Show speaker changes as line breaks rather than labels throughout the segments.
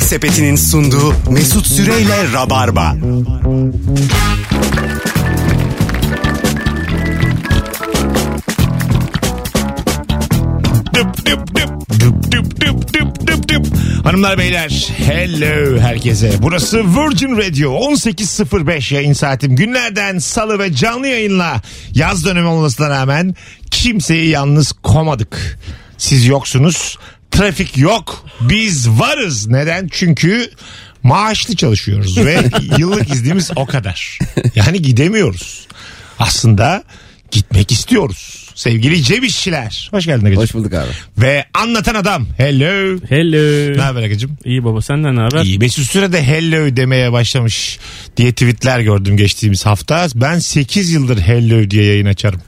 Sepeti'nin sunduğu Mesut Süreyle Rabarba.
Düp düp düp düp düp düp düp düp düp. Hanımlar beyler hello herkese. Burası Virgin Radio 18.05 yayın saatim. Günlerden salı ve canlı yayınla yaz dönemi olmasına rağmen kimseyi yalnız komadık. Siz yoksunuz. Trafik yok. Biz varız. Neden? Çünkü maaşlı çalışıyoruz ve yıllık iznimiz o kadar. Yani gidemiyoruz. Aslında gitmek istiyoruz. Sevgili Cem İşçiler. Hoş geldin Agacım.
Hoş bulduk abi.
Ve anlatan adam. Hello.
Hello.
Ne haber Agacım?
İyi baba senden ne haber?
İyi. Mesut Süre de hello demeye başlamış diye tweetler gördüm geçtiğimiz hafta. Ben 8 yıldır hello diye yayın açarım.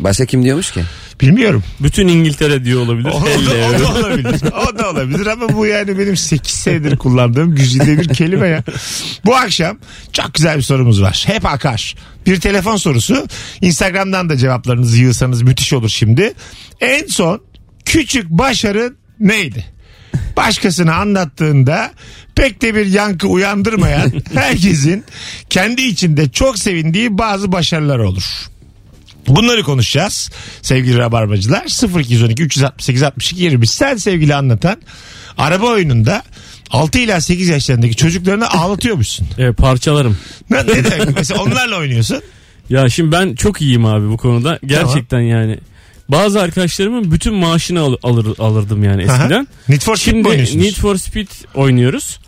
Başka kim diyormuş ki?
Bilmiyorum.
Bütün İngiltere diyor olabilir.
O, o da, o
Hello.
da olabilir. O da olabilir ama bu yani benim 8 senedir kullandığım güzide bir kelime ya. Bu akşam çok güzel bir sorumuz var. Hep akar. Bir telefon sorusu. Instagram'dan da cevaplarınızı yığsanız müthiş olur şimdi. En son küçük başarı neydi? Başkasına anlattığında pek de bir yankı uyandırmayan herkesin kendi içinde çok sevindiği bazı başarılar olur. Bunları konuşacağız sevgili rabarbacılar. 0212 368 62 20. Sen sevgili anlatan araba oyununda 6 ila 8 yaşlarındaki çocuklarını ağlatıyormuşsun.
Ee, parçalarım.
Ne, ne demek? Mesela onlarla oynuyorsun.
Ya şimdi ben çok iyiyim abi bu konuda. Gerçekten yani. Bazı arkadaşlarımın bütün maaşını al- alır, alırdım yani
Aha.
eskiden.
Need for Speed mi
Şimdi
oynuyorsunuz?
Need for Speed oynuyoruz.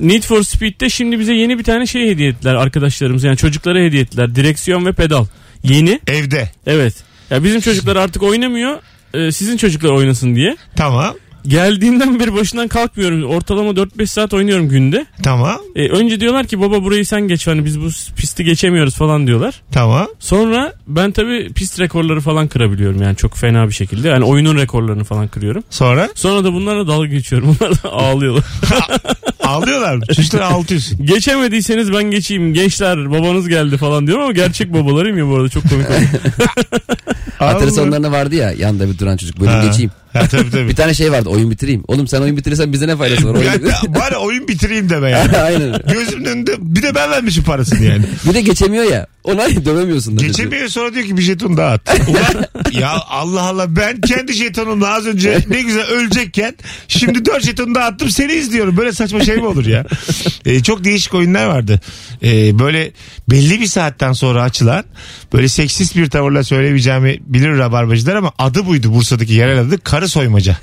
Need for Speed'de şimdi bize yeni bir tane şey hediye ettiler arkadaşlarımız. Yani çocuklara hediye ettiler. Direksiyon ve pedal. Yeni.
Evde.
Evet. Ya bizim çocuklar artık oynamıyor. Ee, sizin çocuklar oynasın diye.
Tamam.
Geldiğinden beri başından kalkmıyorum. Ortalama 4-5 saat oynuyorum günde.
Tamam.
E, önce diyorlar ki baba burayı sen geç hani biz bu pisti geçemiyoruz falan diyorlar.
Tamam.
Sonra ben tabii pist rekorları falan kırabiliyorum yani çok fena bir şekilde. Yani oyunun rekorlarını falan kırıyorum.
Sonra
Sonra da bunlarla dalga geçiyorum. Bunlar da ağlıyorlar.
ağlıyorlar mı? Çocukları ağlatıyorsun.
Geçemediyseniz ben geçeyim gençler babanız geldi falan diyorum ama gerçek babalarım ya bu arada çok komik oluyor.
Hatırı
Allah.
sonlarına vardı ya yanında bir duran çocuk. Bölüm
Ha.
geçeyim.
Ha, tabii tabii.
Bir tane şey vardı oyun bitireyim. Oğlum sen oyun bitirirsen bize ne faydası var? Oyun
Ya,
bitir-
ya, bari oyun bitireyim deme yani.
Aynen.
Gözümün önünde bir de ben vermişim parasını yani.
Bir de geçemiyor ya. Ona dövemiyorsun da. çocuğu.
Geçemiyor sonra diyor ki bir jeton daha at. Ulan ya Allah Allah ben kendi jetonumla az önce ne güzel ölecekken şimdi dört jeton daha attım seni izliyorum. Böyle saçma şey mi olur ya? Ee, çok değişik oyunlar vardı. Ee, böyle belli bir saatten sonra açılan böyle seksist bir tavırla söylemeyeceğimi bilir rabarbacılar ama adı buydu Bursa'daki yerel adı karı soymaca.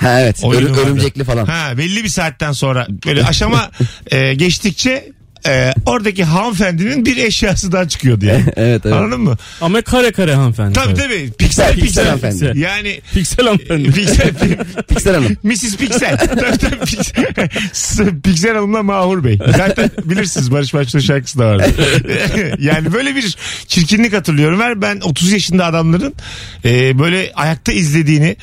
Ha evet.
Oyunu
Örü-
vardı.
örümcekli falan.
Ha, belli bir saatten sonra böyle aşama e, geçtikçe e, oradaki hanımefendinin bir eşyası daha çıkıyordu yani.
Evet evet.
Anladın mı?
ama kare kare hanımefendi.
Tabii tabii. Piksel
Piksel
piksel.
hanımefendi.
Piksel.
Yani e,
Piksel hanımefendi.
piksel
Piksel Hanım.
Mrs. Piksel. Tabii, tabii, piksel. S- piksel Hanım'la Mahur Bey. Zaten bilirsiniz Barış Manço'nun şarkısı da vardı. yani böyle bir çirkinlik hatırlıyorum. Ver ben 30 yaşında adamların e, böyle ayakta izlediğini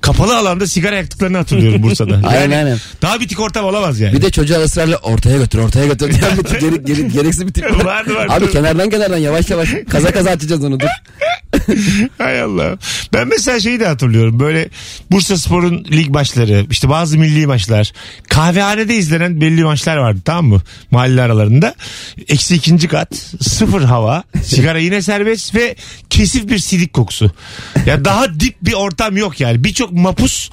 kapalı alanda sigara yaktıklarını hatırlıyorum Bursa'da. Yani
Aynen, aynen.
Daha bitik ortam olamaz yani.
Bir de çocuğa ısrarla ortaya götür ortaya götür. diyen bir tip, geri, geri, gereksiz bir tip.
Vardı, vardı.
Abi kenardan kenardan yavaş yavaş kaza kaza açacağız onu dur.
Hay Allah. Ben mesela şeyi de hatırlıyorum. Böyle Bursa Spor'un lig maçları, işte bazı milli maçlar, kahvehanede izlenen belli maçlar vardı tamam mı? Mahalle aralarında. Eksi ikinci kat, sıfır hava, sigara yine serbest ve kesif bir sidik kokusu. Ya daha dip bir ortam yok yani. Birçok mapus,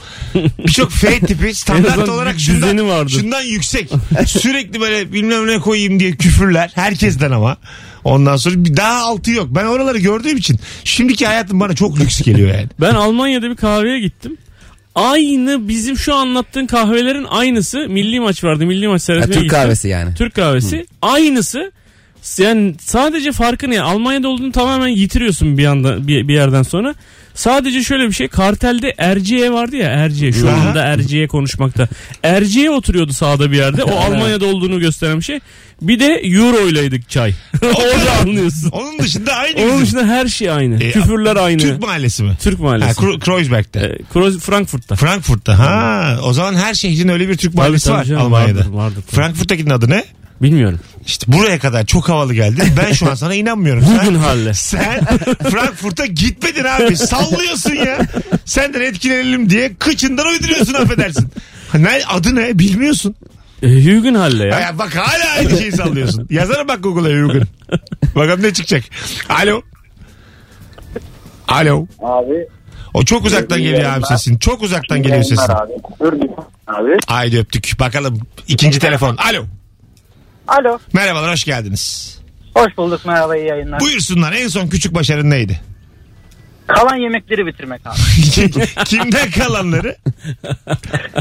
birçok F tipi
En
standart
azından
olarak
bir düzeni
şundan,
vardı.
şundan yüksek. Sürekli böyle bilmem ne koyayım diye küfürler. Herkesten ama. Ondan sonra bir daha altı yok. Ben oraları gördüğüm için şimdiki hayatım bana çok lüks geliyor yani.
Ben Almanya'da bir kahveye gittim. Aynı bizim şu anlattığın kahvelerin aynısı. Milli maç vardı. Milli maç
Ya,
seyretmeye
Türk
gittim.
kahvesi yani.
Türk kahvesi. Aynısı. Yani sadece farkı ne? Almanya'da olduğunu tamamen yitiriyorsun bir anda bir, bir yerden sonra. Sadece şöyle bir şey. Kartelde Erciye vardı ya Erciye. Şu
Aha.
anda Erciye konuşmakta. Erciye oturuyordu sağda bir yerde. O Almanya'da olduğunu gösteren bir şey. Bir de Euro'ylaydık çay. Orada anlıyorsun.
Onun dışında aynı
Onun
bizim.
dışında her şey aynı.
E,
Küfürler aynı.
Türk
Türk,
mahallesi mi? Ha,
mahallesi.
Kro- Kreuzberg'de.
E, Kroz- Frankfurt'ta.
Frankfurt'ta. Ha, o zaman her şehrin öyle bir Türk mahallesi
tabii
var
canım,
Almanya'da.
vardır, vardır tabii.
Frankfurt'takinin adı ne?
Bilmiyorum.
İşte buraya kadar çok havalı geldi. Ben şu an sana inanmıyorum.
Bugün
Sen-
halle.
Sen Frankfurt'a gitmedin abi. Sallıyorsun ya. Senden etkilenelim diye kıçından uyduruyorsun affedersin. Ha, Ne, adı ne bilmiyorsun.
E, Hügenhalle ya.
Ya bak hala aynı şeyi sallıyorsun. Yazana bak Google'a Uygun. Bakalım ne çıkacak. Alo. Alo.
Abi.
O çok uzaktan
İyi
geliyor abi
yayınlar.
sesin. Çok uzaktan geliyor sesin.
Abi. Dur bir- abi.
Haydi öptük. Bakalım ikinci telefon. Alo.
Alo.
Merhabalar hoş geldiniz.
Hoş bulduk. Merhaba iyi yayınlar.
Buyursunlar en son küçük başarın neydi?
Kalan yemekleri bitirmek abi.
Kimden kalanları?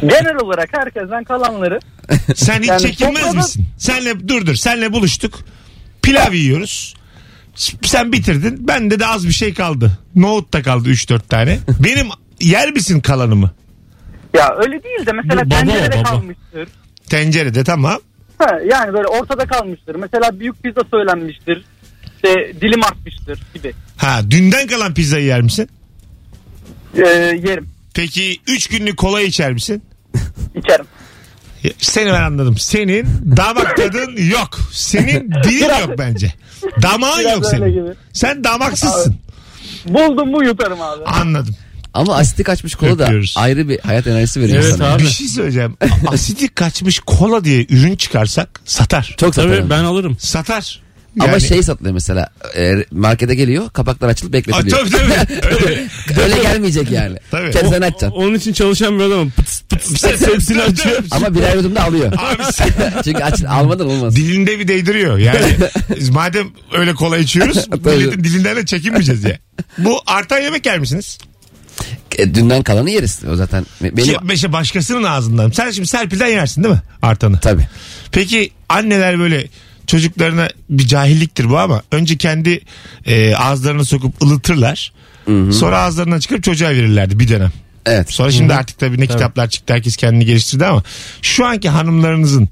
Genel olarak herkesten kalanları.
Sen hiç
Yani
çekinmez
topladım.
misin? Senle dur dur senle buluştuk. Pilav yiyoruz. Sen bitirdin. Bende de az bir şey kaldı. Nohut da kaldı 3-4 tane. Benim yer misin kalanımı?
Ya öyle değil de mesela
Bu baba o,
tencerede
baba.
kalmıştır.
Tencerede tamam.
Ha, yani böyle ortada kalmıştır. Mesela büyük pizza söylenmiştir. İşte dilim artmıştır gibi.
Ha dünden kalan pizzayı yer misin?
Ee, yerim.
Peki 3 günlük kola içer misin?
içerim.
Ya, Seni ben anladım. Senin damak tadın yok. Senin dilin yok bence. Damağın
Biraz
yok
öyle
senin.
gibi.
Sen damaksızsın.
Buldum mu yutarım abi.
Anladım.
Ama asitte kaçmış kola da
Öpüyoruz.
ayrı bir hayat enerjisi veriyor
Evet
insana.
abi.
Bir şey söyleyeceğim. Asidi kaçmış kola diye ürün çıkarsak satar.
Çok satar.
Tabii
ama.
ben alırım.
Satar.
Ama
Yani-
şey satılıyor mesela. e, markete geliyor kapaklar açılıp
Aa,
bekletiliyor.
tabii tabii. Öyle.
Öyle gelmeyecek yani.
Tabii.
Kendin açacaksın.
Onun için çalışan bir adamım. Pıtıs pıtıs pıtıs hepsini
Tabii,
açıyor.
tabii.
Ama birer yudum da alıyor.
Abi sen
Çünkü aç, almadan olmaz.
dilinde bir değdiriyor. Yani madem öyle kola içiyoruz milletin dilinden de çekinmeyeceğiz ya. Bu artan yemek yer misiniz?
E, dünden kalanı yeriz. O zaten be- benim...
Ki beşe başkasının ağzından. Sen şimdi Serpil'den yersin değil mi artanı?
Tabii.
Peki anneler böyle çocuklarına bir cahilliktir bu ama önce kendi e, ağızlarına sokup ılıtırlar. Sonra ağızlarından çıkarıp çocuğa verirlerdi bir dönem.
Evet.
Sonra şimdi artık tabii ne kitaplar çıktı herkes kendini geliştirdi ama şu anki hanımlarınızın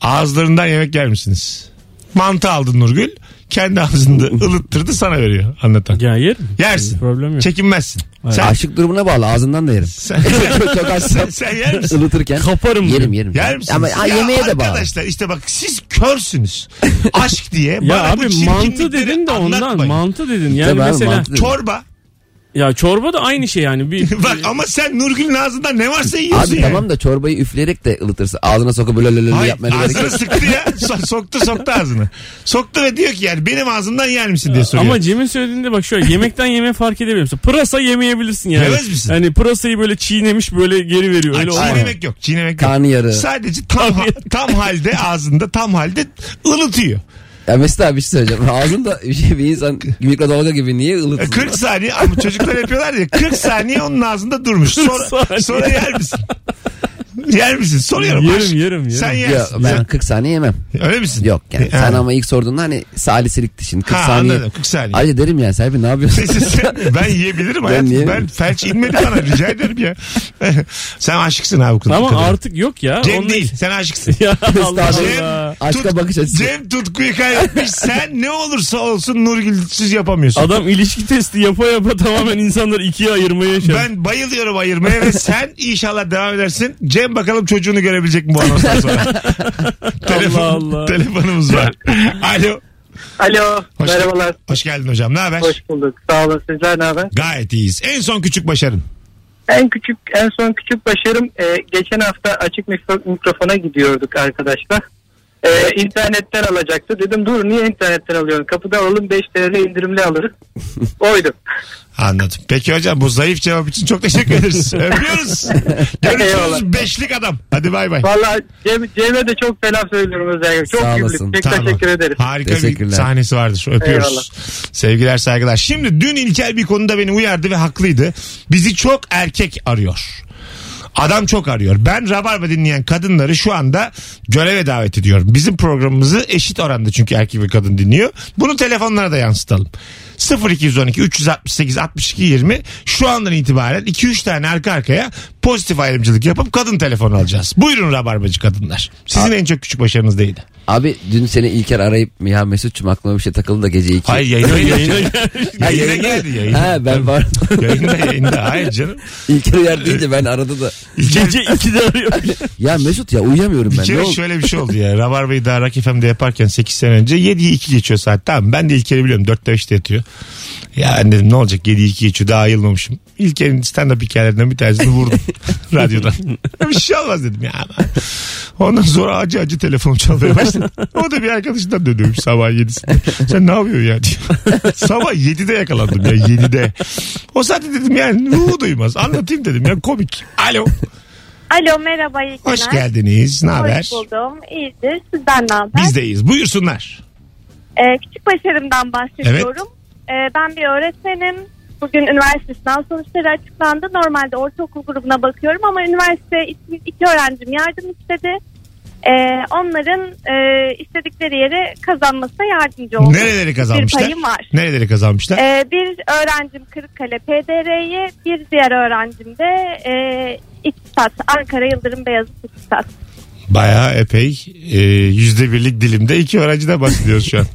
ağızlarından yemek yer misiniz? Mantı aldı Nurgül kendi ağzında ılıttırdı sana veriyor anlatan.
Ya yerim.
Yersin.
Problem yok.
Çekinmezsin. Sen,
Aşık durumuna bağlı ağzından da yerim.
sen,
Çok açsam
sen yer misin?
ılıtırken
Kaparım
yerim
diyor.
yerim.
Yer misiniz?
Ama ha,
Ya
yemeğe de bağlı.
Arkadaşlar işte bak siz körsünüz. Aşk diye.
Ya
bana bu
abi mantı
çirkinlikleri
dedin de ondan
anlatmayın.
mantı dedin. Yani
Tabii abi,
mesela
mantı.
Çorba.
ya çorba da aynı şey yani. Bir,
Bak ama sen Nurgül'ün ağzında ne varsa yiyorsun
Abi
yani.
tamam da çorbayı üfleyerek de ılıtırsın. Ağzına sokup böyle böyle böyle
Hayır,
yapmaya da gerek
ağzını
yok.
sıktı ya. So- soktu soktu ağzını. Soktu ve diyor ki yani benim ağzımdan yer misin diye soruyor.
Ama Cem'in söylediğinde bak şöyle yemekten yemeğe fark edebiliyorsun. Pırasa yemeyebilirsin yani.
Yemez misin?
Hani pırasayı böyle çiğnemiş böyle geri veriyor.
Ay,
Öyle olmaz.
çiğnemek yok. Çiğnemek
Karnıyarı.
yok. Sadece tam,
Karnıyarı.
tam halde ağzında tam halde ılıtıyor.
Ya Mesut abi bir şey söyleyeceğim. Ağzında bir, şey, bir insan mikrodalga gibi niye
E,
ılıtırsın?
40 saniye ama çocuklar yapıyorlar ya 40 saniye onun ağzında durmuş.
40
Sonra,
saniye.
sonra yer misin? Yer misin? Soruyorum.
Yerim,
Aşk.
yerim, yerim.
Sen
Yok
yersin.
ben 40 saniye yemem.
Sen- Öyle misin?
Yok yani.
Ha.
Sen ama ilk sorduğunda hani salisilikti şimdi 40
Ha,
saniye.
anladım, 40 saniye.
Ayrıca derim yani Serpil ne yapıyorsun?
Neyse sen- ben yiyebilirim hayatım. Ben,
niye-
felç inmedi bana rica ederim ya. sen aşıksın abi. kız-
Ama
kadın.
artık yok ya.
Cem
Onun-
değil sen aşıksın.
Ya Allah
Estağfurullah.
Allah.
Aşka
Tut-
bakış açısı.
Cem tutkuyu kaybetmiş sen ne olursa olsun Nurgül'süz yapamıyorsun.
Adam ilişki testi yapa yapa tamamen insanları ikiye ayırmaya çalışıyor.
Ben bayılıyorum ayırmaya ve sen inşallah devam edersin. Cem bakalım çocuğunu görebilecek mi bu anonsdan sonra?
Allah Allah.
Telefonumuz var. Alo.
Alo.
Hoş
merhabalar.
Hoş geldin hocam. Ne haber?
Hoş bulduk. Sağ olun. Sizler ne haber?
Gayet iyiyiz. En son küçük başarın.
En küçük, en son küçük başarım e, geçen hafta açık mikro- mikrofona gidiyorduk arkadaşlar. E, internetten alacaktı. Dedim dur niye internetten alıyorsun? Kapıda alın 5 TL indirimli alırız. Oydu.
Anladım. Peki hocam bu zayıf cevap için çok teşekkür ederiz. Öpüyoruz. Görüşürüz.
Eyvallah.
Beşlik adam. Hadi bay bay.
Vallahi Cem, Cem'e de çok selam söylüyorum özellikle. Çok
Sağ
güldük.
olasın.
Çok
Tamam.
teşekkür ederiz.
Harika bir
Teşekkürler.
sahnesi vardır. Öpüyoruz.
Eyvallah.
Sevgiler saygılar. Şimdi dün İlker bir konuda beni uyardı ve haklıydı. Bizi çok erkek arıyor. Adam çok arıyor. Ben Rabarba dinleyen kadınları şu anda göreve davet ediyorum. Bizim programımızı eşit oranda çünkü erkek ve kadın dinliyor. Bunu telefonlara da yansıtalım. 0212 368 62 20 şu andan itibaren 2-3 tane arka arkaya pozitif ayrımcılık yapıp kadın telefonu alacağız. Buyurun Rabarbacı kadınlar. Sizin en çok küçük başarınız neydi?
Abi dün seni İlker arayıp ya Mesut'cum aklıma bir şey takıldı da gece 2.
Hayır yayına
Yayına
geldi.
gel-
Ha, yayına geldi yayına.
Ha ben var.
Yayında yayında. Hayır canım.
İlker yer deyince ben aradı da.
İlker,
Gece 2'de arıyor.
Ya Mesut ya uyuyamıyorum
bir
ben. Ne
kere
oldu?
şöyle bir şey oldu ya. Rabarba'yı daha Rock FM'de yaparken 8 sene önce 7'yi 2 geçiyor saat. Tamam ben de İlker'i biliyorum. 4'te 5'te yatıyor. Ya ben dedim ne olacak 7'yi 2 geçiyor daha ayılmamışım. İlker'in stand-up hikayelerinden bir tanesini vurdum radyodan. bir şey olmaz dedim ya. Ondan sonra acı acı telefon çalmaya başladı. O da bir arkadaşından dönüyormuş sabah 7'sinde. Sen ne yapıyorsun ya diyor. sabah 7'de yakalandım ya 7'de. O saatte dedim yani ruhu duymaz. Anlatayım dedim ya komik. Alo.
Alo merhaba iyi günler.
Hoş geldiniz. Ne haber?
Hoş buldum. İyidir. Sizden ne haber?
Biz deyiz. Buyursunlar.
Ee, küçük başarımdan bahsediyorum. Ee, ben bir öğretmenim. Bugün üniversite sınav sonuçları açıklandı. Normalde ortaokul grubuna bakıyorum ama üniversite için iki öğrencim yardım istedi. Ee, onların e, istedikleri yere kazanmasına yardımcı oldum.
Nereleri kazanmışlar?
Bir payım var.
Nereleri kazanmışlar?
Ee, bir öğrencim Kırıkkale PDR'yi, bir diğer öğrencim de e, İktisat, Ankara Yıldırım Beyazıt İktisat.
Bayağı epey e, yüzde birlik dilimde iki öğrenciden bahsediyoruz şu an.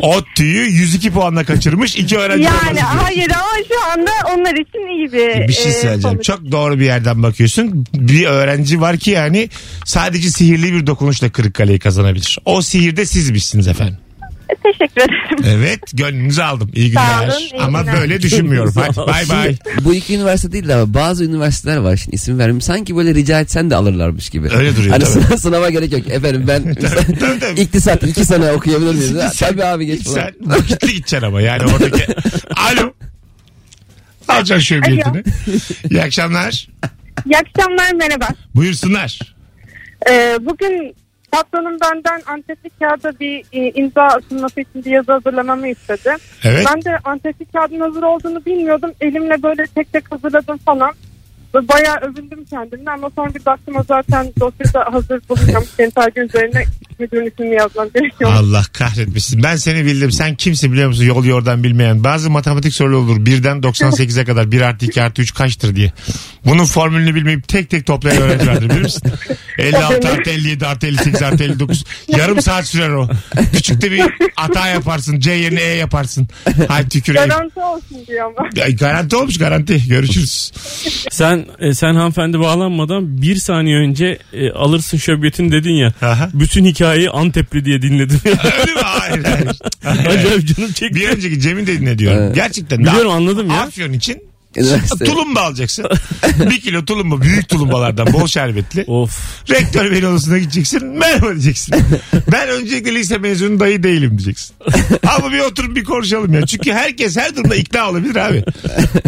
ODTÜ'yü 102 puanla kaçırmış iki öğrenciden
Yani
bahsediyoruz.
hayır ama şu anda onlar için iyi bir,
Bir şey
e,
söyleyeceğim.
sonuç.
Çok doğru bir yerden bakıyorsun. Bir öğrenci var ki yani sadece sihirli bir dokunuşla Kırıkkale'yi kazanabilir. O sihirde sizmişsiniz efendim.
E, Teşekkür ederim.
Evet gönlünüzü aldım. İyi
Sağ
günler.
olun, iyi
Ama
günler.
böyle düşünmüyorum. Hadi bay bay.
Bu iki üniversite değil de ama bazı üniversiteler var şimdi isim vermeyeyim. Sanki böyle rica etsen de alırlarmış gibi.
Öyle duruyor,
Hani
tabii.
sınav, sınava gerek yok. Efendim ben
tabii, tabii.
iktisat iki sene okuyabilir miyiz? Ha, tabii abi geç. falan.
Sen vakitli gideceksin ama yani oradaki. Alo. Alacaksın şu biletini. İyi akşamlar.
İyi akşamlar merhaba.
Buyursunlar.
Ee, bugün patronum benden antepli kağıda bir e, imza atılması için bir yazı hazırlamamı istedi.
Evet.
Ben de antepli kağıdın hazır olduğunu bilmiyordum. Elimle böyle tek tek hazırladım falan. Ve Bayağı övündüm kendimle ama sonra bir baktım o zaten dosyada hazır bulacağım. Kentargı üzerine müdürün ismini yazmam gerekiyor.
Allah kahretmesin. Ben seni bildim. Sen kimsin biliyor musun? Yol yordan bilmeyen. Bazı matematik soruları olur. Birden 98'e kadar 1 artı 2 artı 3 kaçtır diye. Bunun formülünü bilmeyip tek tek toplayan öğrenci vardır bilir misin? 56 artı 57 artı 58 artı 59. Yarım saat sürer o. Küçükte bir hata yaparsın. C yerine E yaparsın. Hay tüküreyim.
Garanti olsun diyor ama.
Ay, Garanti olmuş garanti. Görüşürüz.
Sen e, sen hanımefendi bağlanmadan bir saniye önce e, alırsın şöbiyetini dedin ya.
Aha.
Bütün hikayeyi Antepli diye dinledim.
Öyle mi? Hayır, hayır. Hayır.
Acayip canım çekti.
Bir önceki Cem'in dediğini diyorum.
Evet.
Gerçekten.
Biliyorum anladım ya.
Afyon için
Üniversite.
Tulumba alacaksın. bir kilo tulumba. Büyük tulumbalardan. Bol şerbetli.
Of.
Rektör beni odasına gideceksin. Merhaba diyeceksin. Ben öncelikle lise mezunu dayı değilim diyeceksin. Ama bir oturup bir konuşalım ya. Çünkü herkes her durumda ikna olabilir abi.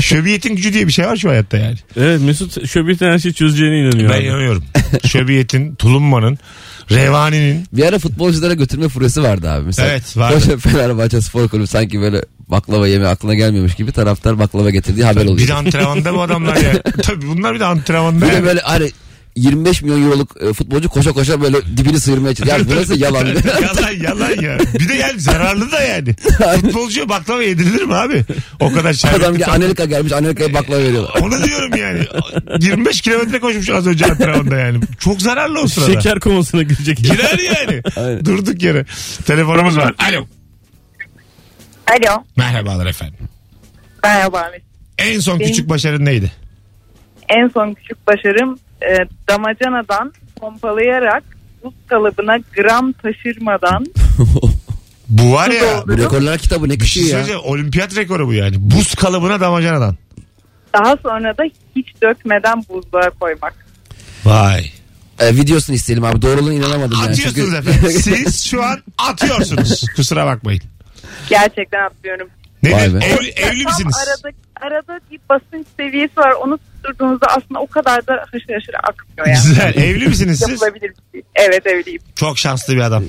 Şöbiyetin gücü diye bir şey var şu hayatta yani.
Evet Mesut şöbiyetten her şeyi çözeceğine inanıyor.
Ben
abi.
inanıyorum. Şöbiyetin, tulumbanın, revaninin.
Bir ara futbolculara götürme furyası vardı abi. Mesela
Evet, vardı.
Koşa Fenerbahçe Spor Kulübü sanki böyle baklava yeme aklına gelmemiş gibi taraftar baklava getirdiği haber oluyor.
Bir de antrenmanda bu adamlar ya. Tabii bunlar bir de antrenmanda.
Bir de
yani.
böyle hani 25 milyon euroluk e, futbolcu koşa koşa böyle dibini sıyırmaya çalışıyor. Yani burası yalan.
yalan yalan ya. Bir de yani zararlı da yani. Futbolcuya baklava yedirilir mi abi? O kadar şerbetli
Adam
falan.
Anelika gelmiş Anelka'ya baklava veriyorlar.
Onu diyorum yani. 25 kilometre koşmuş az önce antrenmanda yani. Çok zararlı o sırada.
Şeker komasına girecek.
Girer yani.
Aynen.
Durduk yere. Telefonumuz var. Alo.
Alo.
Merhabalar efendim.
Merhaba.
En son
Benim-
küçük başarın neydi?
En son küçük başarım e, damacanadan pompalayarak buz kalıbına gram taşırmadan
Bu var ya.
Bu rekorlar kitabı ne
Bir şey
kişi ya.
söyleyeceğim. Olimpiyat rekoru bu yani. Buz kalıbına damacanadan.
daha sonra da hiç dökmeden buzluğa koymak.
Vay.
E, videosunu isteyelim abi. Doğruluğuna inanamadım yani. Çünkü-
Atıyorsunuz efendim. Siz şu an atıyorsunuz. Kusura bakmayın.
Gerçekten atlıyorum.
Vay
Nedir?
be.
Evli, evli
Tam
misiniz?
Arada, arada bir basınç seviyesi var. Onu tutturduğunuzda aslında o kadar da haşır haşır akmıyor yani.
Güzel. Evli misiniz siz?
Yapılabilir bir şey. Evet evliyim.
Çok şanslı bir adam.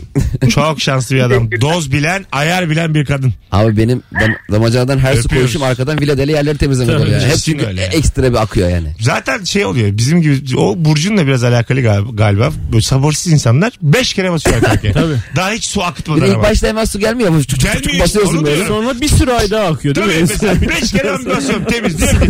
Çok şanslı bir adam. Doz bilen, ayar bilen bir kadın.
Abi benim dam damacanadan her su
Öpüyoruz.
koyuşum arkadan villadeli yerleri temizlemek
Tabii,
oluyor. Hep
kesin
çünkü
öyle ya.
ekstra bir akıyor yani.
Zaten şey oluyor bizim gibi o Burcu'nun da biraz alakalı gal- galiba. Böyle sabırsız insanlar 5 kere basıyor erkeğe.
Tabii.
Daha hiç su
Bir
akıtmadan
de ilk
ama.
başta hemen su gelmiyor mu? Çok, çok,
Gelmiyor, onu
basıyorsun böyle.
diyorum.
Sonra bir sürü ay daha akıyor değil
Tabii
mi?
mesela 5 kere ben basıyorum temiz. Diyorum ki,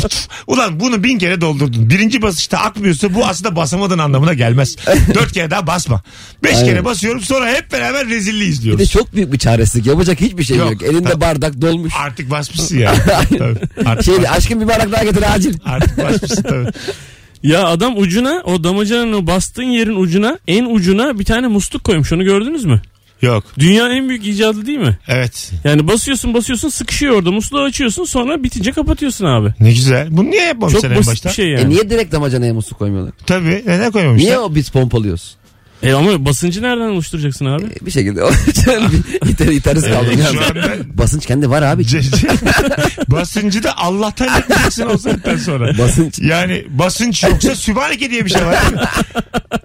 Ulan bunu bin kere doldurdun. Birinci basışta akmıyorsa bu aslında basamadığın anlamına gelmez. Dört kere daha basma. Beş
Aynen.
kere basıyorum sonra hep beraber rezilliği
Bir de
izliyoruz.
çok büyük bir çaresizlik. Yapacak hiçbir şey
Yok.
yok. Elinde bardak dolmuş.
Artık basmışsın ya. Tabii. Artık,
Şey,
bas-
aşkım bir bardak daha getir acil.
artık basmışsın tabii.
Ya adam ucuna o damacanın o bastığın yerin ucuna en ucuna bir tane musluk koymuş onu gördünüz mü?
Yok.
Dünyanın en büyük icadı değil mi?
Evet.
Yani basıyorsun basıyorsun sıkışıyor orada. Musluğu açıyorsun sonra bitince kapatıyorsun abi.
Ne güzel. Bunu niye yapmamışlar
Çok
en
basit
başta?
bir şey yani.
E niye direkt damacanaya musluk koymuyorlar?
Tabii. Neden koymamışlar?
Niye o biz pompalıyoruz?
E ama basıncı nereden oluşturacaksın abi?
E, bir şekilde iter, iteriz kaldım.
Evet,
yani.
şu anda-
Basınç kendi var abi.
C- c- basıncı da Allah'tan yaklaşsın o saatten sonra.
Basınç.
Yani basınç yoksa Sübhaneke diye bir şey var. değil mi?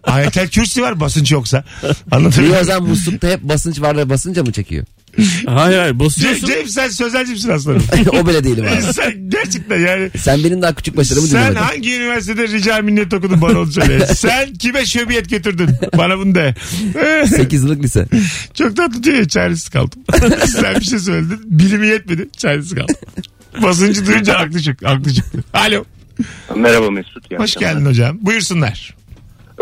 Ayetel kürsi var basınç yoksa. Anlatabiliyor
Niye o
muyum?
zaman muslukta hep basınç var da basınca mı çekiyor? E-
Hayır hayır
Cem,
basıyorsun.
Cem sen sözelcimsin aslanım.
o bile değilim abi.
sen gerçekten yani
Sen benim daha küçük başarımı
sen
dinlemedin.
hangi üniversitede rica minnet okudun bana onu söyle. sen kime şöbiyet getirdin? Bana bunu de. Eh,
8 yıllık lise.
Çok tatlı diyor ya çaresiz kaldım. sen bir şey söyledin. Bilimi yetmedi. Çaresiz kaldım. Basıncı duyunca aklı çıktı. Aklı çıktı. Alo.
Merhaba Mesut. iyi
Hoş
akşamlar.
geldin hocam. Buyursunlar.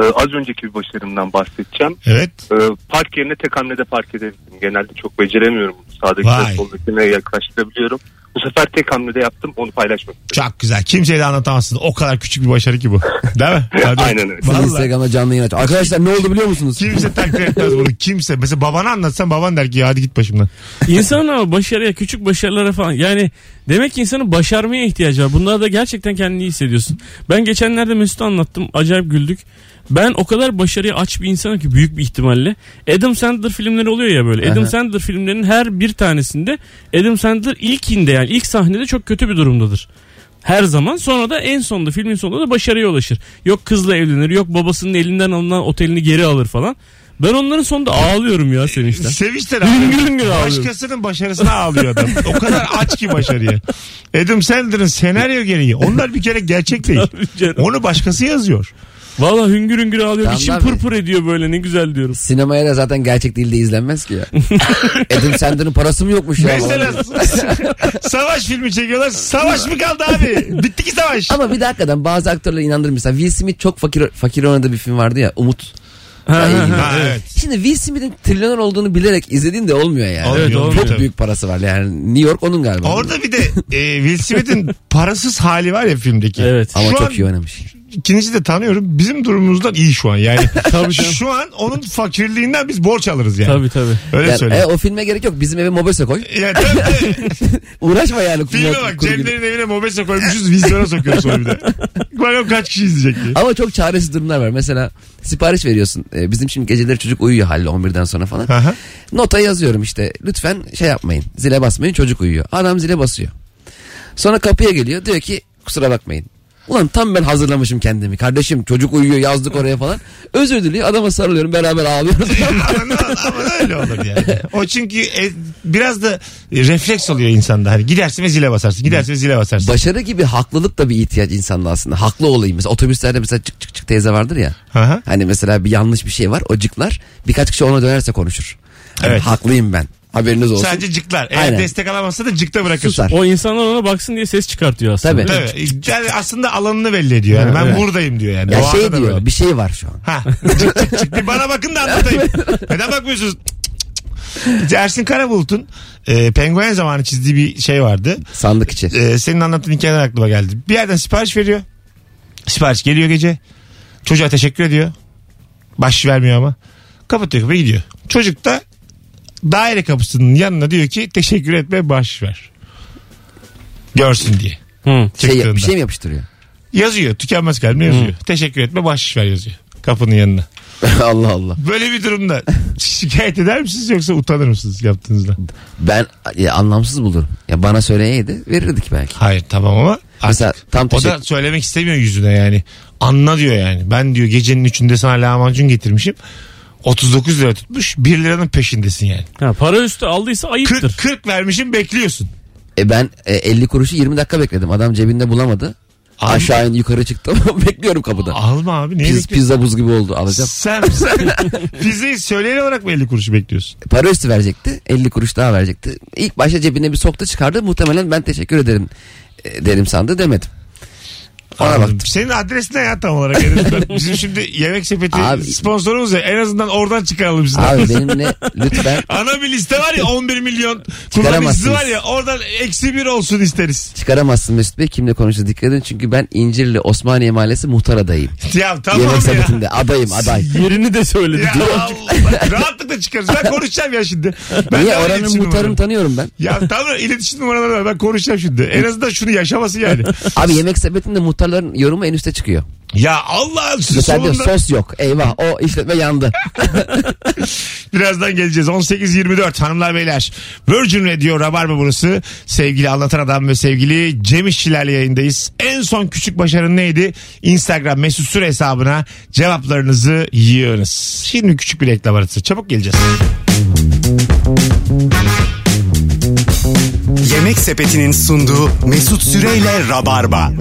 Ee, az önceki bir başarımdan bahsedeceğim.
Evet.
Ee, park yerine tek hamlede park edebildim. Genelde çok beceremiyorum.
Vay.
Sağdaki soldakine yaklaştırabiliyorum. Bu sefer tek hamlede yaptım onu paylaşmak istedim.
Çok güzel. Kimseye de anlatamazsın. O kadar küçük bir başarı ki bu. Değil mi? Hadi.
Aynen öyle.
Sen
Vallahi.
Instagram'da canlı yayın aç. Arkadaşlar ne oldu biliyor musunuz?
Kimse takdir etmez bunu. Kimse. Mesela babana anlatsan baban der ki "Ya hadi git başımdan.
İnsanın ama başarıya küçük başarılara falan yani demek ki insanın başarmaya ihtiyacı var. Bunlarda gerçekten kendini iyi hissediyorsun. Ben geçenlerde Mesut'a anlattım acayip güldük. Ben o kadar başarıya aç bir insanım ki büyük bir ihtimalle. Adam Sandler filmleri oluyor ya böyle. Adam
Aha.
Sandler filmlerinin her bir tanesinde Adam Sandler ilkinde yani ilk sahnede çok kötü bir durumdadır. Her zaman sonra da en sonunda filmin sonunda da başarıya ulaşır. Yok kızla evlenir yok babasının elinden alınan otelini geri alır falan. Ben onların sonunda ağlıyorum ya sevinçten.
Sevinçten
Hüngür hüngür
ağlıyor.
ağlıyor.
Başkasının başarısına ağlıyor adam. O kadar aç ki başarıya. Adam Sandler'ın senaryo gereği. Onlar bir kere gerçek değil.
Tabii canım.
Onu başkası yazıyor.
Valla hüngür hüngür ağlıyor.
Tamam
İçim
abi.
pırpır ediyor böyle ne güzel diyorum.
Sinemaya da zaten gerçek değil de izlenmez ki ya. Adam Sandler'ın parası mı yokmuş ya?
Mesela savaş filmi çekiyorlar. Savaş mı kaldı abi? Bitti ki savaş.
Ama bir de hakikaten bazı aktörler inandırmışlar. Will Smith çok fakir fakir oynadığı bir film vardı ya Umut.
Ha,
ilgili.
ha,
Ha,
evet.
evet.
Şimdi Will Smith'in trilyoner olduğunu bilerek izlediğin de olmuyor yani.
Olmuyor,
Evet, olmuyor.
Çok
tabii.
büyük parası var yani. New York onun galiba.
Orada bir de e, Will Smith'in parasız hali var ya filmdeki.
Evet.
Ama
Şu
çok
an
iyi oynamış.
İkincisi de tanıyorum. Bizim durumumuzdan iyi şu an yani. şu an onun fakirliğinden biz borç alırız yani.
Tabii tabii.
Öyle
Yani, e,
söyleyeyim.
o filme gerek yok. Bizim eve mobese koy.
Ya tabii, tabii.
Uğraşma yani.
filme
kurgu-
bak
kurgu-
Cem'lerin evine mobese koymuşuz vizyona sokuyoruz sonra bir de. Bakalım kaç kişi izleyecek diye.
Ama çok çaresiz durumlar var. Mesela sipariş veriyorsun. E, bizim şimdi geceleri çocuk uyuyor halde 11'den sonra falan.
Aha.
Nota yazıyorum işte. Lütfen şey yapmayın. Zile basmayın çocuk uyuyor. Adam zile basıyor. Sonra kapıya geliyor. Diyor ki kusura bakmayın. Ulan tam ben hazırlamışım kendimi. Kardeşim çocuk uyuyor yazdık oraya falan. Özür diliyor. Adama sarılıyorum beraber ağlıyoruz.
Ama ama öyle olur yani. O çünkü e, biraz da refleks oluyor insanda. Hani gidersin ve zile basarsın. Gidersin ve zile basarsın.
Başarı gibi haklılık da bir ihtiyaç insanda aslında. Haklı olayım. Mesela otobüslerde mesela çık çık çık teyze vardır ya.
Aha.
Hani mesela bir yanlış bir şey var. O cıklar. Birkaç kişi ona dönerse konuşur. Hani
Evet.
Haklıyım ben. Haberiniz olsun.
Sadece cıklar. Eğer
Aynen.
destek alamazsa da cıkta bırakırsın.
Susar.
O insanlar ona baksın diye ses çıkartıyor aslında.
Tabii.
Tabii. Yani aslında alanını belli ediyor. Yani ben buradayım diyor yani.
Ya
O
şey
arada
diyor.
böyle.
Bir şey var şu an.
Ha. Çık, çık, çık. Bir bana bakın da anlatayım. Neden bakmıyorsunuz? Ersin Karabulut'un e, penguen zamanı çizdiği bir şey vardı.
Sandık içi.
E, senin anlattığın hikayeler aklıma geldi. Bir yerden sipariş veriyor. Sipariş geliyor gece. Çocuğa teşekkür ediyor. Baş vermiyor ama. Kapatıyor kapıyı gidiyor. Çocuk da daire kapısının yanına diyor ki teşekkür etme baş ver. Görsün diye.
Hı.
Şey,
Çıktığında.
bir şey mi yapıştırıyor?
Yazıyor. Tükenmez kalbine yazıyor. Teşekkür etme baş ver yazıyor. Kapının yanına.
Allah Allah.
Böyle bir durumda şikayet eder misiniz yoksa utanır mısınız yaptığınızda?
Ben e, anlamsız bulurum. Ya bana söyleyeydi verirdik belki.
Hayır tamam ama artık
Mesela tam
o da
teşekkür-
söylemek istemiyor yüzüne yani. Anla diyor yani. Ben diyor gecenin üçünde sana lahmacun getirmişim. 39 lira tutmuş 1 liranın peşindesin yani.
Ha, para üstü aldıysa ayıptır.
40, 40 vermişim bekliyorsun.
E ben e, 50 kuruşu 20 dakika bekledim. Adam cebinde bulamadı.
Abi-
Aşağı in yukarı çıktım. Bekliyorum kapıda.
Alma abi niye
Piz,
bekliyorsun?
pizza buz gibi oldu alacağım.
Sen, sen pizzayı söyleyene olarak mı 50 kuruşu bekliyorsun?
Para üstü verecekti. 50 kuruş daha verecekti. İlk başta cebine bir soktu çıkardı. Muhtemelen ben teşekkür ederim e, derim sandı demedim. Ona
Anladım.
baktım.
Senin adres ne ya tam olarak? En azından Bizim şimdi yemek sepeti
Abi-
sponsorumuz ya. En azından oradan çıkaralım sizden.
Abi benimle lütfen
Ana bir liste var ya 11 milyon kullanıcısı
Çıkaramazsınız.
var ya oradan eksi bir olsun isteriz.
çıkaramazsın Mesut Bey. Kimle konuşacağız dikkat edin. Çünkü ben İncirli Osmaniye Mahallesi muhtar adayım.
Ya tamam
Yemek
ya.
sepetinde adayım aday.
Yerini de söyledi.
Ya Allah, rahatlıkla çıkarız. Ben konuşacağım ya şimdi. Ben
Niye
de
oranın
iletişim
muhtarını
numaram.
tanıyorum ben.
Ya tamam iletişim numaraları var. Ben konuşacağım şimdi. En azından şunu yaşaması yani.
Abi yemek sepetinde muhtarların yorumu en üste çıkıyor.
ya Allah
Mesela diyor
sonunda
sos yok. Eyvah o işletme yandı.
birazdan geleceğiz. 18.24 hanımlar beyler. Virgin Radio Rabarba burası. Sevgili Anlatan Adam ve sevgili Cem İşçilerle yayındayız. En son küçük başarın neydi? Instagram mesut süre hesabına cevaplarınızı yığınız. Şimdi küçük bir reklam arası. Çabuk geleceğiz.
Yemek Sepeti'nin sunduğu Mesut Süreyle Rabarba.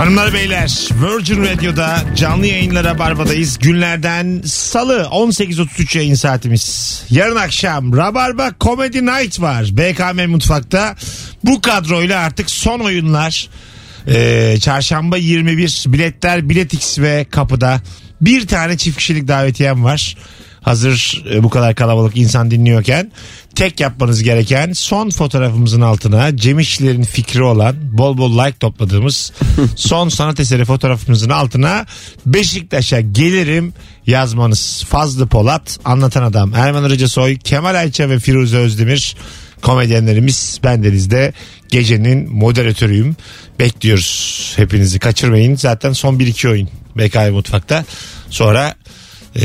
Hanımlar beyler Virgin Radio'da canlı yayınlara Barba'dayız. Günlerden salı 18.33 yayın saatimiz. Yarın akşam Rabarba Comedy Night var BKM Mutfak'ta. Bu kadroyla artık son oyunlar. Ee, çarşamba 21 biletler Biletix ve kapıda. Bir tane çift kişilik davetiyem var. Hazır e, bu kadar kalabalık insan dinliyorken tek yapmanız gereken son fotoğrafımızın altına Cem İşçilerin fikri olan bol bol like topladığımız son sanat eseri fotoğrafımızın altına Beşiktaş'a gelirim yazmanız. Fazlı Polat, Anlatan Adam, Erman Arıca Soy, Kemal Ayça ve Firuze Özdemir komedyenlerimiz bendeniz de gecenin moderatörüyüm. Bekliyoruz hepinizi kaçırmayın. Zaten son 1-2 oyun BKM Mutfak'ta. Sonra e,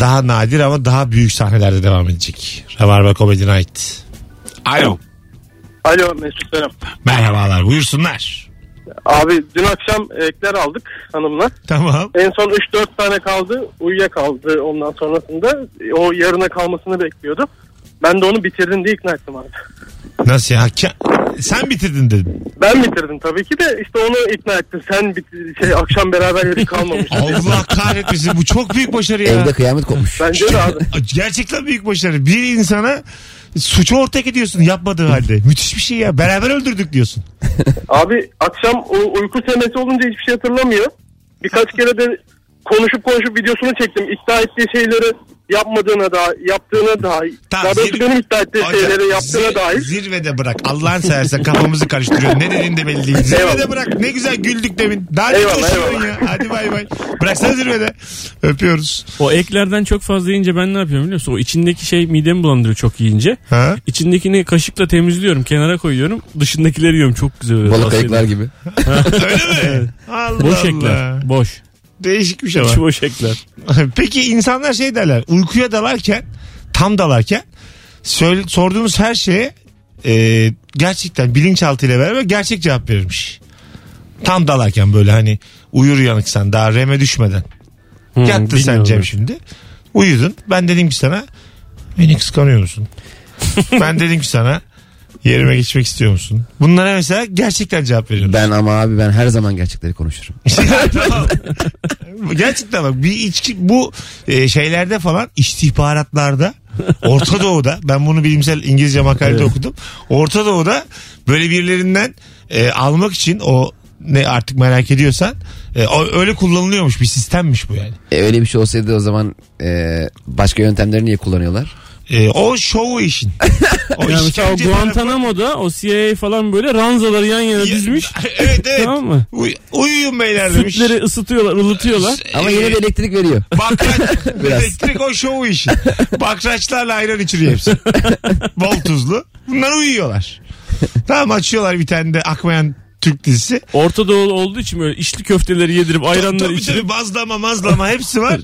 daha nadir ama daha büyük sahnelerde devam edecek. Rabarba Comedy Night. Alo.
Alo Mesut Selam.
Merhabalar buyursunlar.
Abi dün akşam ekler aldık hanımla.
Tamam.
En son 3-4 tane kaldı. Uyuyakaldı ondan sonrasında. E, O yarına kalmasını bekliyordu. Ben de onu bitirdim diye ikna ettim abi.
Nasıl ya? Ke- Sen bitirdin dedim.
Ben bitirdim tabii ki de işte onu ikna ettim. Sen bit- şey, akşam beraber yedik kalmamış.
Allah kahretmesin bu çok büyük başarı ya.
Evde kıyamet kopmuş.
Bence de abi.
Gerçekten büyük başarı. Bir insana suçu ortak ediyorsun yapmadığı halde. Müthiş bir şey ya. Beraber öldürdük diyorsun.
Abi akşam o uyku senesi olunca hiçbir şey hatırlamıyor. Birkaç kere de konuşup konuşup videosunu çektim. İddia ettiği şeyleri yapmadığına dair, yaptığına dair.
Tamam,
daha doğrusu
zir-
benim iddia ettiği
Hocam,
şeyleri
zir-
yaptığına dair.
Zirvede bırak. Allah'ın seversen kafamızı karıştırıyor. Ne dediğin de belli değil. Zirvede
Eyvallah.
bırak. Ne güzel güldük demin. Daha ne
Eyvallah,
coşuyorsun
eyvallah.
ya. Hadi bay bay. Bıraksana zirvede. Öpüyoruz.
O eklerden çok fazla yiyince ben ne yapıyorum biliyor musun? O içindeki şey midemi bulandırıyor çok yiyince.
Ha?
İçindekini kaşıkla temizliyorum, kenara koyuyorum. Dışındakileri yiyorum. Çok güzel. oluyor.
Balık
Tavsiye
ayıklar
ederim.
gibi.
Öyle mi? Allah
Boş
Allah.
ekler. Boş.
Değişikmiş ama.
Hiç boş ekler.
Peki insanlar şey derler. Uykuya dalarken, tam dalarken söyle, sorduğunuz her şeye e, gerçekten bilinçaltıyla beraber gerçek cevap verirmiş. Tam dalarken böyle hani uyur uyanıksan daha reme düşmeden.
Hmm,
Yattın sen
bilmiyorum.
Cem şimdi. Uyudun. Ben dedim ki sana beni kıskanıyor musun? ben dedim ki sana yerime geçmek istiyor musun? Bunlara mesela gerçekten cevap veriyorum.
Ben ama abi ben her zaman gerçekleri konuşurum.
Tamam. Gerçekten bak bir içki bu e, şeylerde falan istihbaratlarda Orta Doğu'da ben bunu bilimsel İngilizce makalede okudum. Orta Doğu'da böyle birilerinden e, almak için o ne artık merak ediyorsan e, o- öyle kullanılıyormuş bir sistemmiş bu yani.
E, öyle bir şey olsaydı o zaman e, başka yöntemleri niye kullanıyorlar?
E, o şovu işin. O
Yani mesela o
işkence
Guantanamo'da o CIA falan böyle ranzaları yan yana
tarafı-
dizmiş.
evet evet.
Tamam mı?
Uy- uyuyun beyler demiş. E,
Sütleri ısıtıyorlar, ılıtıyorlar.
Ama yine de elektrik veriyor.
Bakraç.
Biraz.
Elektrik o şovu işi. Bakraçlarla ayran içiriyor hepsi. Bol tuzlu. Bunlar uyuyorlar. Tamam açıyorlar bir tane de akmayan Türk dizisi.
Orta Doğulu olduğu için böyle içli köfteleri yedirip ayranları
Tabii
içirip
tabii bazlama mazlama hepsi var.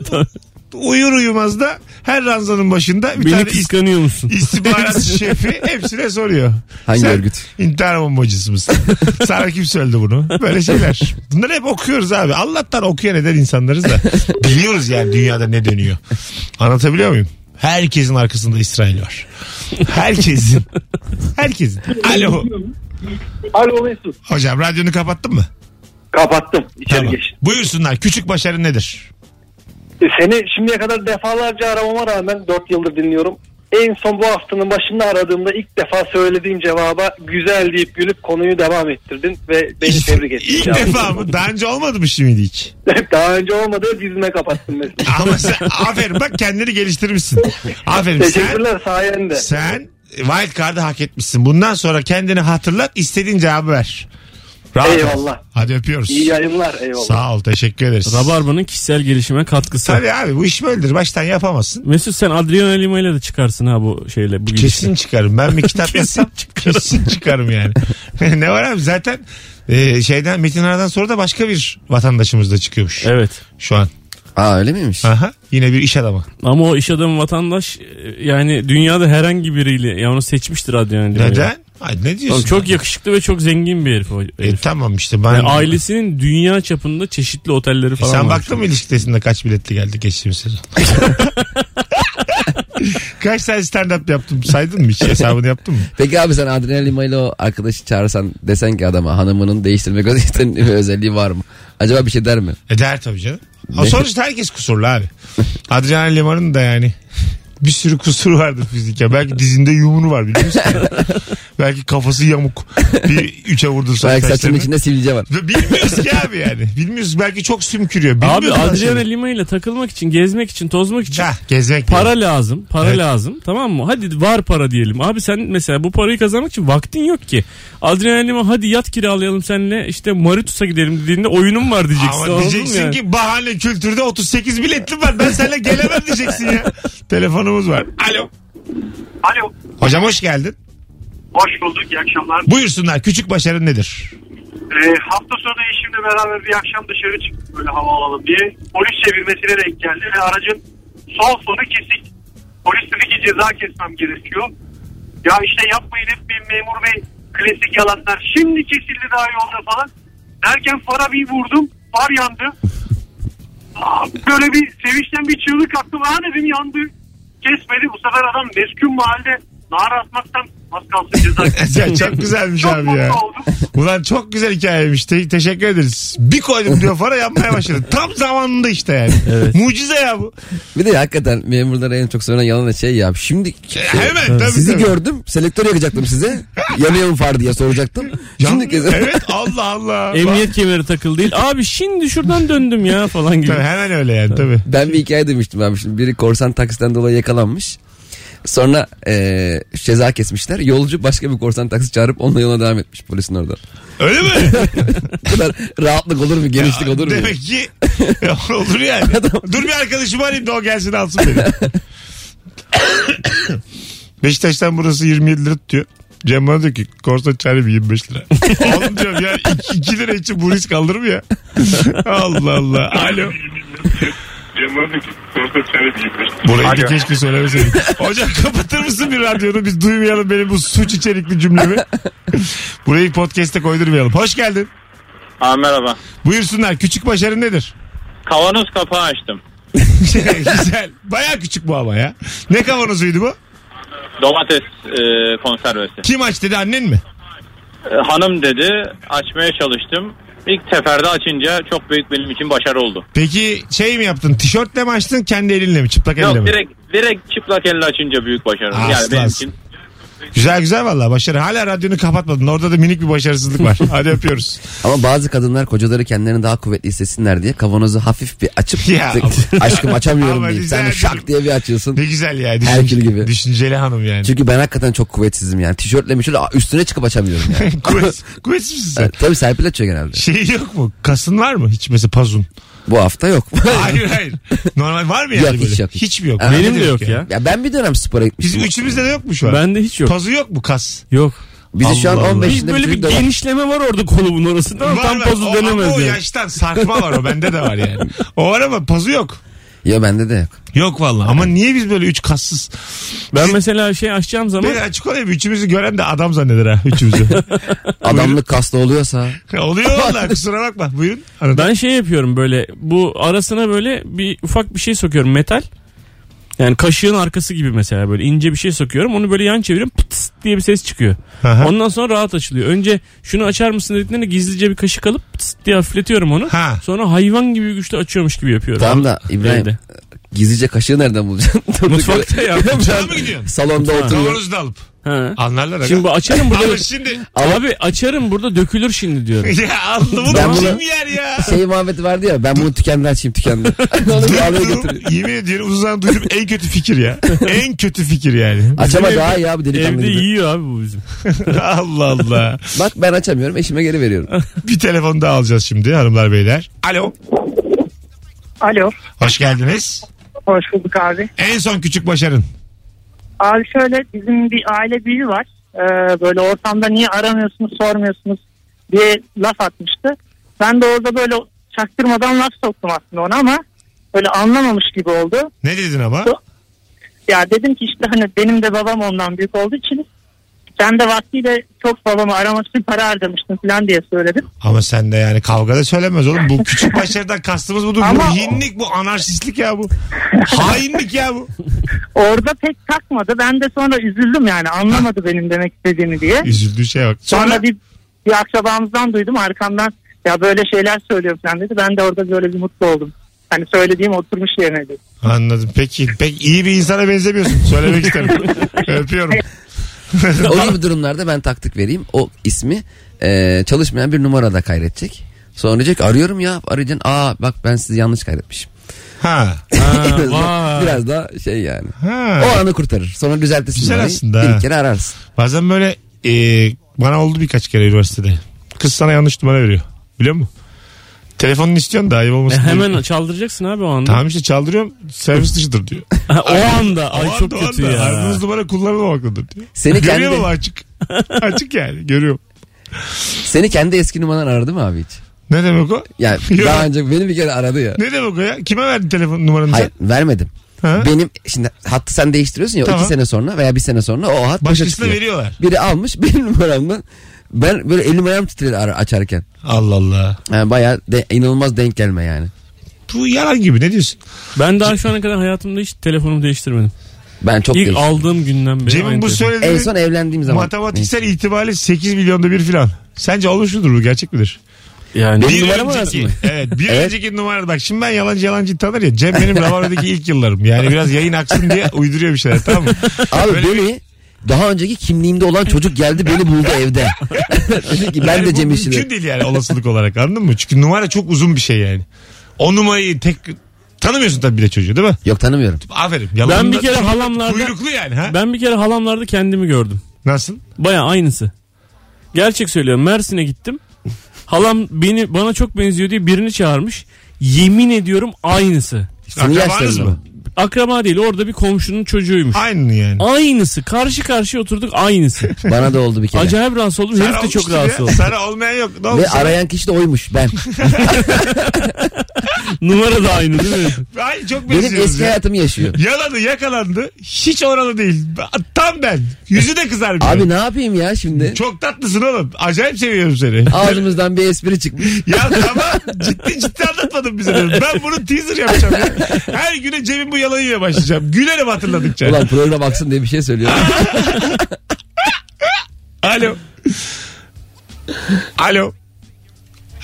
Uyur uyumaz da her ranzanın başında bir
beni
tane ist-
kıskanıyor musun?
istihbarat şefi hepsine soruyor.
Hangi
Sen
örgüt?
İntihar bombacısı mısın? Sana kim söyledi bunu? Böyle şeyler. Bunları hep okuyoruz abi. Allah'tan okuyan eden insanlarız da. Biliyoruz yani dünyada ne dönüyor. Anlatabiliyor muyum? Herkesin arkasında İsrail var. Herkesin. Herkesin. Alo.
Alo Mesut.
Hocam radyonu kapattın mı?
Kapattım. İçeri
Tamam.
geç.
Buyursunlar. Küçük başarı nedir?
E, Seni şimdiye kadar defalarca aramama rağmen 4 yıldır dinliyorum. En son bu haftanın başında aradığımda ilk defa söylediğim cevaba güzel deyip gülüp konuyu devam ettirdin ve beni tebrik ettin.
İlk
Cevap.
defa mı? Daha önce olmadı mı şimdi hiç?
Daha önce olmadığı dizime kapattın mesela.
Ama sen aferin bak kendini geliştirmişsin. Aferin sen,
Teşekkürler sayende.
sen wild card'ı hak etmişsin. Bundan sonra kendini hatırlat istediğin cevabı ver. Rahat ol.
Eyvallah.
Hadi öpüyoruz.
İyi yayınlar eyvallah.
Sağ ol teşekkür ederiz.
Rabarba'nın kişisel gelişime katkısı.
Tabii abi bu iş böyledir. Baştan yapamazsın.
Mesut sen Adriana Lima ile de çıkarsın ha bu şeyle. Bu
Kesin
gidişle.
çıkarım. Ben bir kitap yazsam kesin çıkarım yani. ne var abi zaten e, şeyden Metin Aradan sonra da başka bir vatandaşımız da çıkıyormuş
Evet.
şu an.
Aa öyle miymiş?
Aha, yine bir iş adamı.
Ama o iş adamı vatandaş e, yani dünyada herhangi biriyle ya onu seçmiştir Adriana Lima'yı.
Neden? Ay, ne diyorsun?
Oğlum çok yakışıklı ve çok zengin bir herif o herif.
E, tamam işte ben... E,
Yani ailesinin dünya çapında çeşitli otelleri falan
Sen
varmış.
baktın mı ilişkidesinde kaç biletli geldi geçtiğimiz sezon? kaç tane stand-up yaptım saydın mı hiç hesabını yaptın mı?
Peki abi sen Adrian Lima ile o arkadaşı çağırsan desen ki adama hanımının değiştirmek özelliği, bir özelliği var mı? Acaba bir şey der mi?
E der tabii canım. Ama
Ne?
sonuçta herkes kusurlu abi. Adrian Liman'ın da yani bir sürü kusuru vardır fizike. Belki dizinde yumru var biliyor musun? Belki kafası yamuk. Bir üçe vurdu sonra
Belki saçının
saçlarını.
içinde sivilce var.
Bilmiyoruz ki abi yani. Bilmiyoruz belki çok sümkürüyor.
Abi
Bilmiyoruz
Adriana
saçlarını.
Lima ile takılmak için, gezmek için, tozmak için
Ha, gezmek
para lazım. Para
Evet.
lazım. Tamam mı? Hadi var para diyelim. Abi sen mesela bu parayı kazanmak için vaktin yok ki. Adriana Lima hadi yat kiralayalım seninle işte Maritus'a gidelim dediğinde oyunum var diyeceksin. Anladın
Ama
mı
diyeceksin
yani?
ki bahane kültürde 38 biletli var. Ben seninle gelemem diyeceksin ya. Telefonumuz var. Alo.
Alo.
Hocam hoş geldin.
Hoş bulduk. İyi akşamlar.
Buyursunlar. Küçük başarın nedir?
Ee, hafta sonu eşimle beraber bir akşam dışarı çıktık böyle hava alalım diye. Polis çevirmesine denk geldi ve aracın sol sonu kesik. Polis dedi ki ceza kesmem gerekiyor. Ya işte yapmayın hep bir memur bey klasik yalanlar. Şimdi kesildi daha yolda falan. Derken fara bir vurdum. Far yandı. Aa, Böyle bir sevinçten bir çığlık attım. Aa dedim yandı. Kesmedi. Bu sefer adam meskun mahalle nara atmaktan az kalsın ceza.
Ya çok güzelmiş
Çok
abi ya.
mutlu oldum.
Ulan çok güzel hikayeymiş. Te- teşekkür ederiz. Bir koydum diyor para yapmaya başladı. Tam zamanında işte yani. Mucize ya bu.
Bir de hakikaten memurlara en çok söylenen yalan da şey ya. Şimdi
E, Hemen tabii
sizi
tabii.
gördüm selektör yakacaktım size. Yanıyor mu far diye soracaktım. Şimdi
Yandı.
kesin.
Evet Allah Allah.
Emniyet kemeri takıl değil. Abi şimdi şuradan döndüm ya falan gibi.
Tabii, hemen öyle yani tabii.
Ben bir hikaye duymuştum abi şimdi biri korsan taksiden dolayı yakalanmış. Sonra eee ceza kesmişler. Yolcu başka bir korsan taksi çağırıp onunla yola devam etmiş polisin orada.
Öyle mi?
Bu kadar rahatlık olur mu? Genişlik olur mu?
Demek ki olur yani. Dur bir arkadaşımı arayayım da o gelsin alsın beni. Beşiktaş'tan burası 27 lira tutuyor. Cem bana diyor ki korsa çare 25 lira. Oğlum diyorum ya 2 lira için bu risk alır mı ya? Allah Allah. Alo. Burayı da keşke söylemeseydim. Hocam kapatır mısın bir radyonu? Biz duymayalım benim bu suç içerikli cümlemi. Burayı podcast'e koydurmayalım. Hoş geldin.
Aa, merhaba.
Buyursunlar. Küçük başarın nedir? Şey,
Kavanoz kapağı açtım.
Güzel. Baya küçük bu ama ya. Ne kavanozuydu bu?
Domates e, konservesi.
Kim aç dedi annen mi?
E, hanım dedi açmaya çalıştım. İlk seferde açınca çok büyük benim için başarı oldu.
Peki şey mi yaptın? Tişörtle mi açtın? Kendi elinle mi? Çıplak
Yok
elle mi?
direkt direkt çıplak elle açınca büyük başarı.
Aslansın.
Yani benim için
Güzel güzel valla başarı. Hala radyonu kapatmadın. Orada da minik bir başarısızlık var. Hadi öpüyoruz.
Ama bazı kadınlar kocaları kendilerini daha kuvvetli hissetsinler diye kavanozu hafif bir açıp
Ya.
aşkım açamıyorum
Ama
deyip
rica
sen de
ederim.
şak diye bir açıyorsun.
Ne güzel ya.
Herkül gibi.
Düşünceli hanım yani.
Çünkü ben hakikaten çok kuvvetsizim yani. Tişörtle mişörtle üstüne çıkıp açamıyorum yani.
Kuvvet, kuvvetsiz misin sen?
Evet, Tabii Serpil açıyor genelde.
Şey yok mu? Kasın var mı? Hiç mesela pazun.
Bu hafta yok.
Hayır hayır. Normal var mı yani
Yok,
böyle?
hiç yok.
mi yok?
Benim
Bende
Benim de yok ya.
ya ben bir dönem spora
Biz
gitmiştim.
üçümüzde de yok mu şu an?
Bende hiç yok.
Pazu yok mu kas?
Yok.
Bizi şu an
Allah Allah.
15
Bir,
yaşında
böyle bir
çocuk da var.
genişleme var orada kolumun arasında ama tam
var.
pozu
O- ama
denemez
O
yani.
yaştan sarkma var o bende de var yani. O var ama pazu yok.
Ya bende de yok.
Yok vallahi ama niye biz böyle üç kassız?
Ben mesela şey açacağım zaman
Ben açık olayım üçümüzü gören de adam zanneder ha üçümüzü.
Adamlık kaslı oluyorsa.
Oluyor valla kusura bakma buyurun. Anladım.
ben şey yapıyorum böyle bu arasına böyle bir ufak bir şey sokuyorum metal. Yani kaşığın arkası gibi mesela böyle ince bir şey sokuyorum onu böyle yan çeviriyorum pıtıs diye bir ses çıkıyor.
Aha.
Ondan sonra rahat açılıyor. Önce şunu açar mısın dediklerinde gizlice bir kaşık alıp pıtıs diye hafifletiyorum onu.
Ha.
Sonra hayvan gibi güçle açıyormuş gibi yapıyorum.
Tamam da İbrahim
Elde.
Gizlice kaşığı nereden bulacaksın? Durduk
Mutfakta
yere-
ya.
Yapacaksın.
Mutfağa mı gidiyorsun?
Salonda oturuyor.
Doğrunuzu da alıp.
Ha.
Anlarlar. aga.
Şimdi bu açarım burada.
Ama şimdi
Abi açarım burada dökülür şimdi diyorum.
ya alnımı
Ben bunu-
kim yer ya?
Şey muhabbeti vardı ya ben bunu tükende açayım tükende. Onu bir araya
Duydum,
götürüyor.
yemin ediyorum uzun zaman duyduğum en kötü fikir ya. En kötü fikir yani.
Açama daha iyi abi delikanlı
Evde
gibi.
yiyor abi bu bizim.
Allah Allah.
Bak ben açamıyorum eşime geri veriyorum.
Bir telefon daha alacağız şimdi hanımlar beyler. Alo.
Alo.
Hoş geldiniz.
Hoş bulduk abi.
En son küçük başarın.
Abi şöyle bizim bir aile büyüğü var. Ee, böyle ortamda niye aramıyorsunuz sormuyorsunuz diye laf atmıştı. Ben de orada böyle çaktırmadan laf soktum aslında ona ama böyle anlamamış gibi oldu.
Ne dedin ama?
Ya dedim ki işte hani benim de babam ondan büyük olduğu için sen de vaktiyle çok babamı aramak için para harcamıştın falan diye söyledim.
Ama sen de yani kavgada söylemez oğlum. Bu küçük başarıdan kastımız budur.
Ama-
Bu hinlik bu anarşistlik ya bu. Hainlik ya bu.
Orada pek takmadı. Ben de sonra üzüldüm yani anlamadı benim demek istediğimi diye.
Üzüldüğü şey bak.
Sonra,
Sonra
bir, bir akrabamızdan duydum arkamdan ya böyle şeyler söylüyor falan dedi. Ben de orada böyle bir mutlu oldum. Hani söylediğim oturmuş yerine dedi.
anladım. Peki pek iyi bir insana benzemiyorsun. Söylemek isterim. Öpüyorum.
o gibi durumlarda ben taktik vereyim. O ismi e, çalışmayan bir numarada kaydedecek. Sonra diyecek ki, arıyorum ya arayacaksın. Aa bak ben sizi yanlış kaydetmişim.
Ha.
biraz,
vay.
daha, biraz daha şey yani.
Ha.
O anı kurtarır. Sonra düzeltirsin.
Güzel
numarayı.
aslında ha.
Bir kere ararsın.
Bazen böyle e, bana oldu birkaç kere üniversitede. Kız sana yanlış numara veriyor. Biliyor musun? Telefonunu istiyorsun da ayıp
E,
olmasın. diye.
hemen çaldıracaksın abi o anda.
Tamam işte çaldırıyorum servis dışıdır diyor.
Ha, o anda ay
O anda,
çok
o
kötü
anda.
ya.
Aradığınız numara kullanılmamaktadır diyor.
Seni
Görüyor
kendi-
mu açık? açık yani görüyorum.
Seni kendi eski numaran aradı mı abi hiç?
Ne demek o?
Yani
Yok.
daha önce beni bir kere aradı ya.
Ne demek o ya? Kime verdin telefon numaranı
Hayır
sen?
vermedim.
Ha?
Benim şimdi hattı sen değiştiriyorsun ya o
Tamam.
iki sene sonra veya bir sene sonra o hat başa
Başkasına
çıkıyor.
veriyorlar.
Biri almış benim numaramı ben böyle elim ayağım titredi ara- açarken.
Allah Allah.
Yani bayağı de, inanılmaz denk gelme yani.
Bu yalan gibi ne diyorsun?
Ben daha şu ana kadar hayatımda hiç telefonumu değiştirmedim.
Ben çok
İlk
değiştim.
aldığım günden beri.
Cem'in
aynı şey.
bu
telefon.
söylediği
En son evlendiğim zaman.
matematiksel itibariyle 8 milyonda bir filan. Sence olmuşudur bu gerçek midir?
Yani
bir
numaramı
önceki,
aradın
evet, bir
Evet.
önceki numara bak şimdi ben yalancı yalancı tanır ya Cem benim Rabarba'daki ilk yıllarım yani biraz yayın aksın diye uyduruyor bir şeyler tamam mı?
Abi
Böyle
beni daha önceki kimliğimde olan çocuk geldi beni buldu evde. Dedi ki ben
Yani
de
bu
Cem
Mümkün
İşçilerim.
değil yani olasılık olarak anladın mı? Çünkü numara çok uzun bir şey yani. O numarayı tek tanımıyorsun tabii bile çocuğu değil mi?
Yok tanımıyorum.
Aferin.
Ben bir
da-
kere halamlarda
Kuyruklu yani ha?
ben bir kere halamlarda kendimi gördüm.
Nasıl?
Baya aynısı. Gerçek söylüyorum. Mersin'e gittim. Halam beni bana çok benziyor diye birini çağırmış. Yemin ediyorum aynısı.
Senin
Akrabanız
yaşlarında
mı?
mı?
Akraba değil orada bir komşunun çocuğuymuş.
Aynı yani.
Aynısı. Karşı karşıya oturduk aynısı.
Bana da oldu bir kere.
Acayip rahatsız oldum. Herif de çok
olmuştur
rahatsız
ya.
oldu.
Sana olmayan yok. Ne oldu
Ve
sana?
arayan kişi de oymuş ben.
Numara da aynı değil mi?
Ay çok
Benim
benziyoruz
eski
ya.
hayatımı yaşıyor.
Yaladı yakalandı. Hiç oralı değil. Tam ben. Yüzü de kızarmıyor.
Abi ne yapayım ya şimdi?
Çok tatlısın oğlum. Acayip seviyorum seni.
Ağzımızdan bir espri çıkmış.
Ya tamam ciddi ciddi anlatmadım bize. de. Ben bunu teaser yapacağım. Ya. Her güne Cem'in bu yalanıyla başlayacağım. Gülerim hatırladıkça.
Ulan program aksın diye bir şey söylüyorum.
Alo. Alo.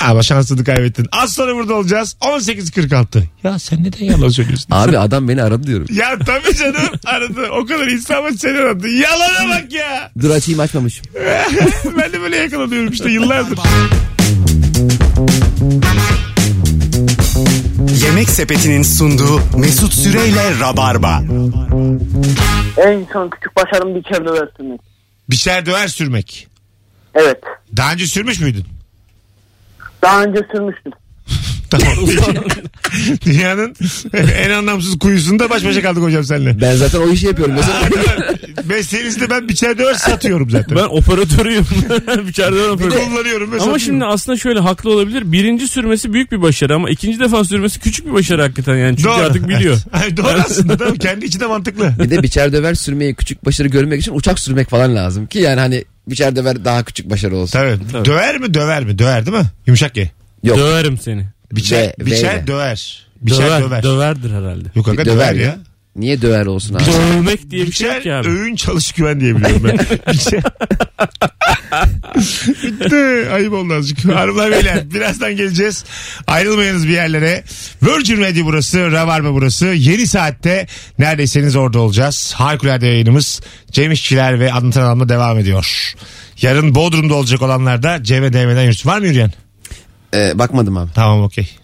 Ama şansını kaybettin. Az sonra burada olacağız. 18.46. Ya sen neden yalan söylüyorsun?
Abi adam beni aradı diyorum.
ya tabii canım aradı. O kadar insan var seni aradı. Yalana bak ya.
Dur açayım açmamışım.
ben de böyle yakalanıyorum işte yıllardır.
Yemek Sepeti'nin sunduğu Mesut Süreyle Rabarba.
En son küçük başarım bir kere versin.
Bir şeyler döver sürmek.
Evet.
Daha önce sürmüş müydün?
Daha önce sürmüştüm.
Tamam. Dünyanın en anlamsız kuyusunda baş başa kaldık hocam seninle.
Ben zaten o işi yapıyorum. Mesela
Mesleğinizde ben biçer döver satıyorum zaten.
Ben operatörüyüm. bir kere daha operatör.
Kullanıyorum ve
Ama
satıyorum.
şimdi aslında şöyle haklı olabilir. Birinci sürmesi büyük bir başarı ama ikinci defa sürmesi küçük bir başarı hakikaten yani. Çünkü artık biliyor.
Evet. Ay, doğru aslında değil mi? Kendi içinde mantıklı.
bir de biçer döver sürmeyi küçük başarı görmek için uçak sürmek falan lazım. Ki yani hani biçer döver daha küçük başarı olsun.
Tabii. Döver mi döver mi? Döver değil mi? Yumuşak ye.
Yok.
Döverim seni.
Biçer,
Ve-
biçer
veyle.
döver. Biçer şey döver.
Döverdir herhalde.
Yok aga döver,
Döver
ya.
ya. Niye döver olsun abi?
Dövmek diye bir şey
Biçer
yok ki abi.
öğün çalış güven diye biliyorum ben. biçer. Bitti. Ayıp oldu azıcık. Hanımlar beyler birazdan geleceğiz. Ayrılmayınız bir yerlere. Virgin Radio burası, Rabarba burası. Yeni saatte neredeyseniz orada olacağız. Harikulade yayınımız Cem İşçiler ve Anlatan Adam'la devam ediyor. Yarın Bodrum'da olacak olanlar da Cem'e DM'den yürüsün. Var mı yürüyen?
Ee, bakmadım abi.
Tamam okey.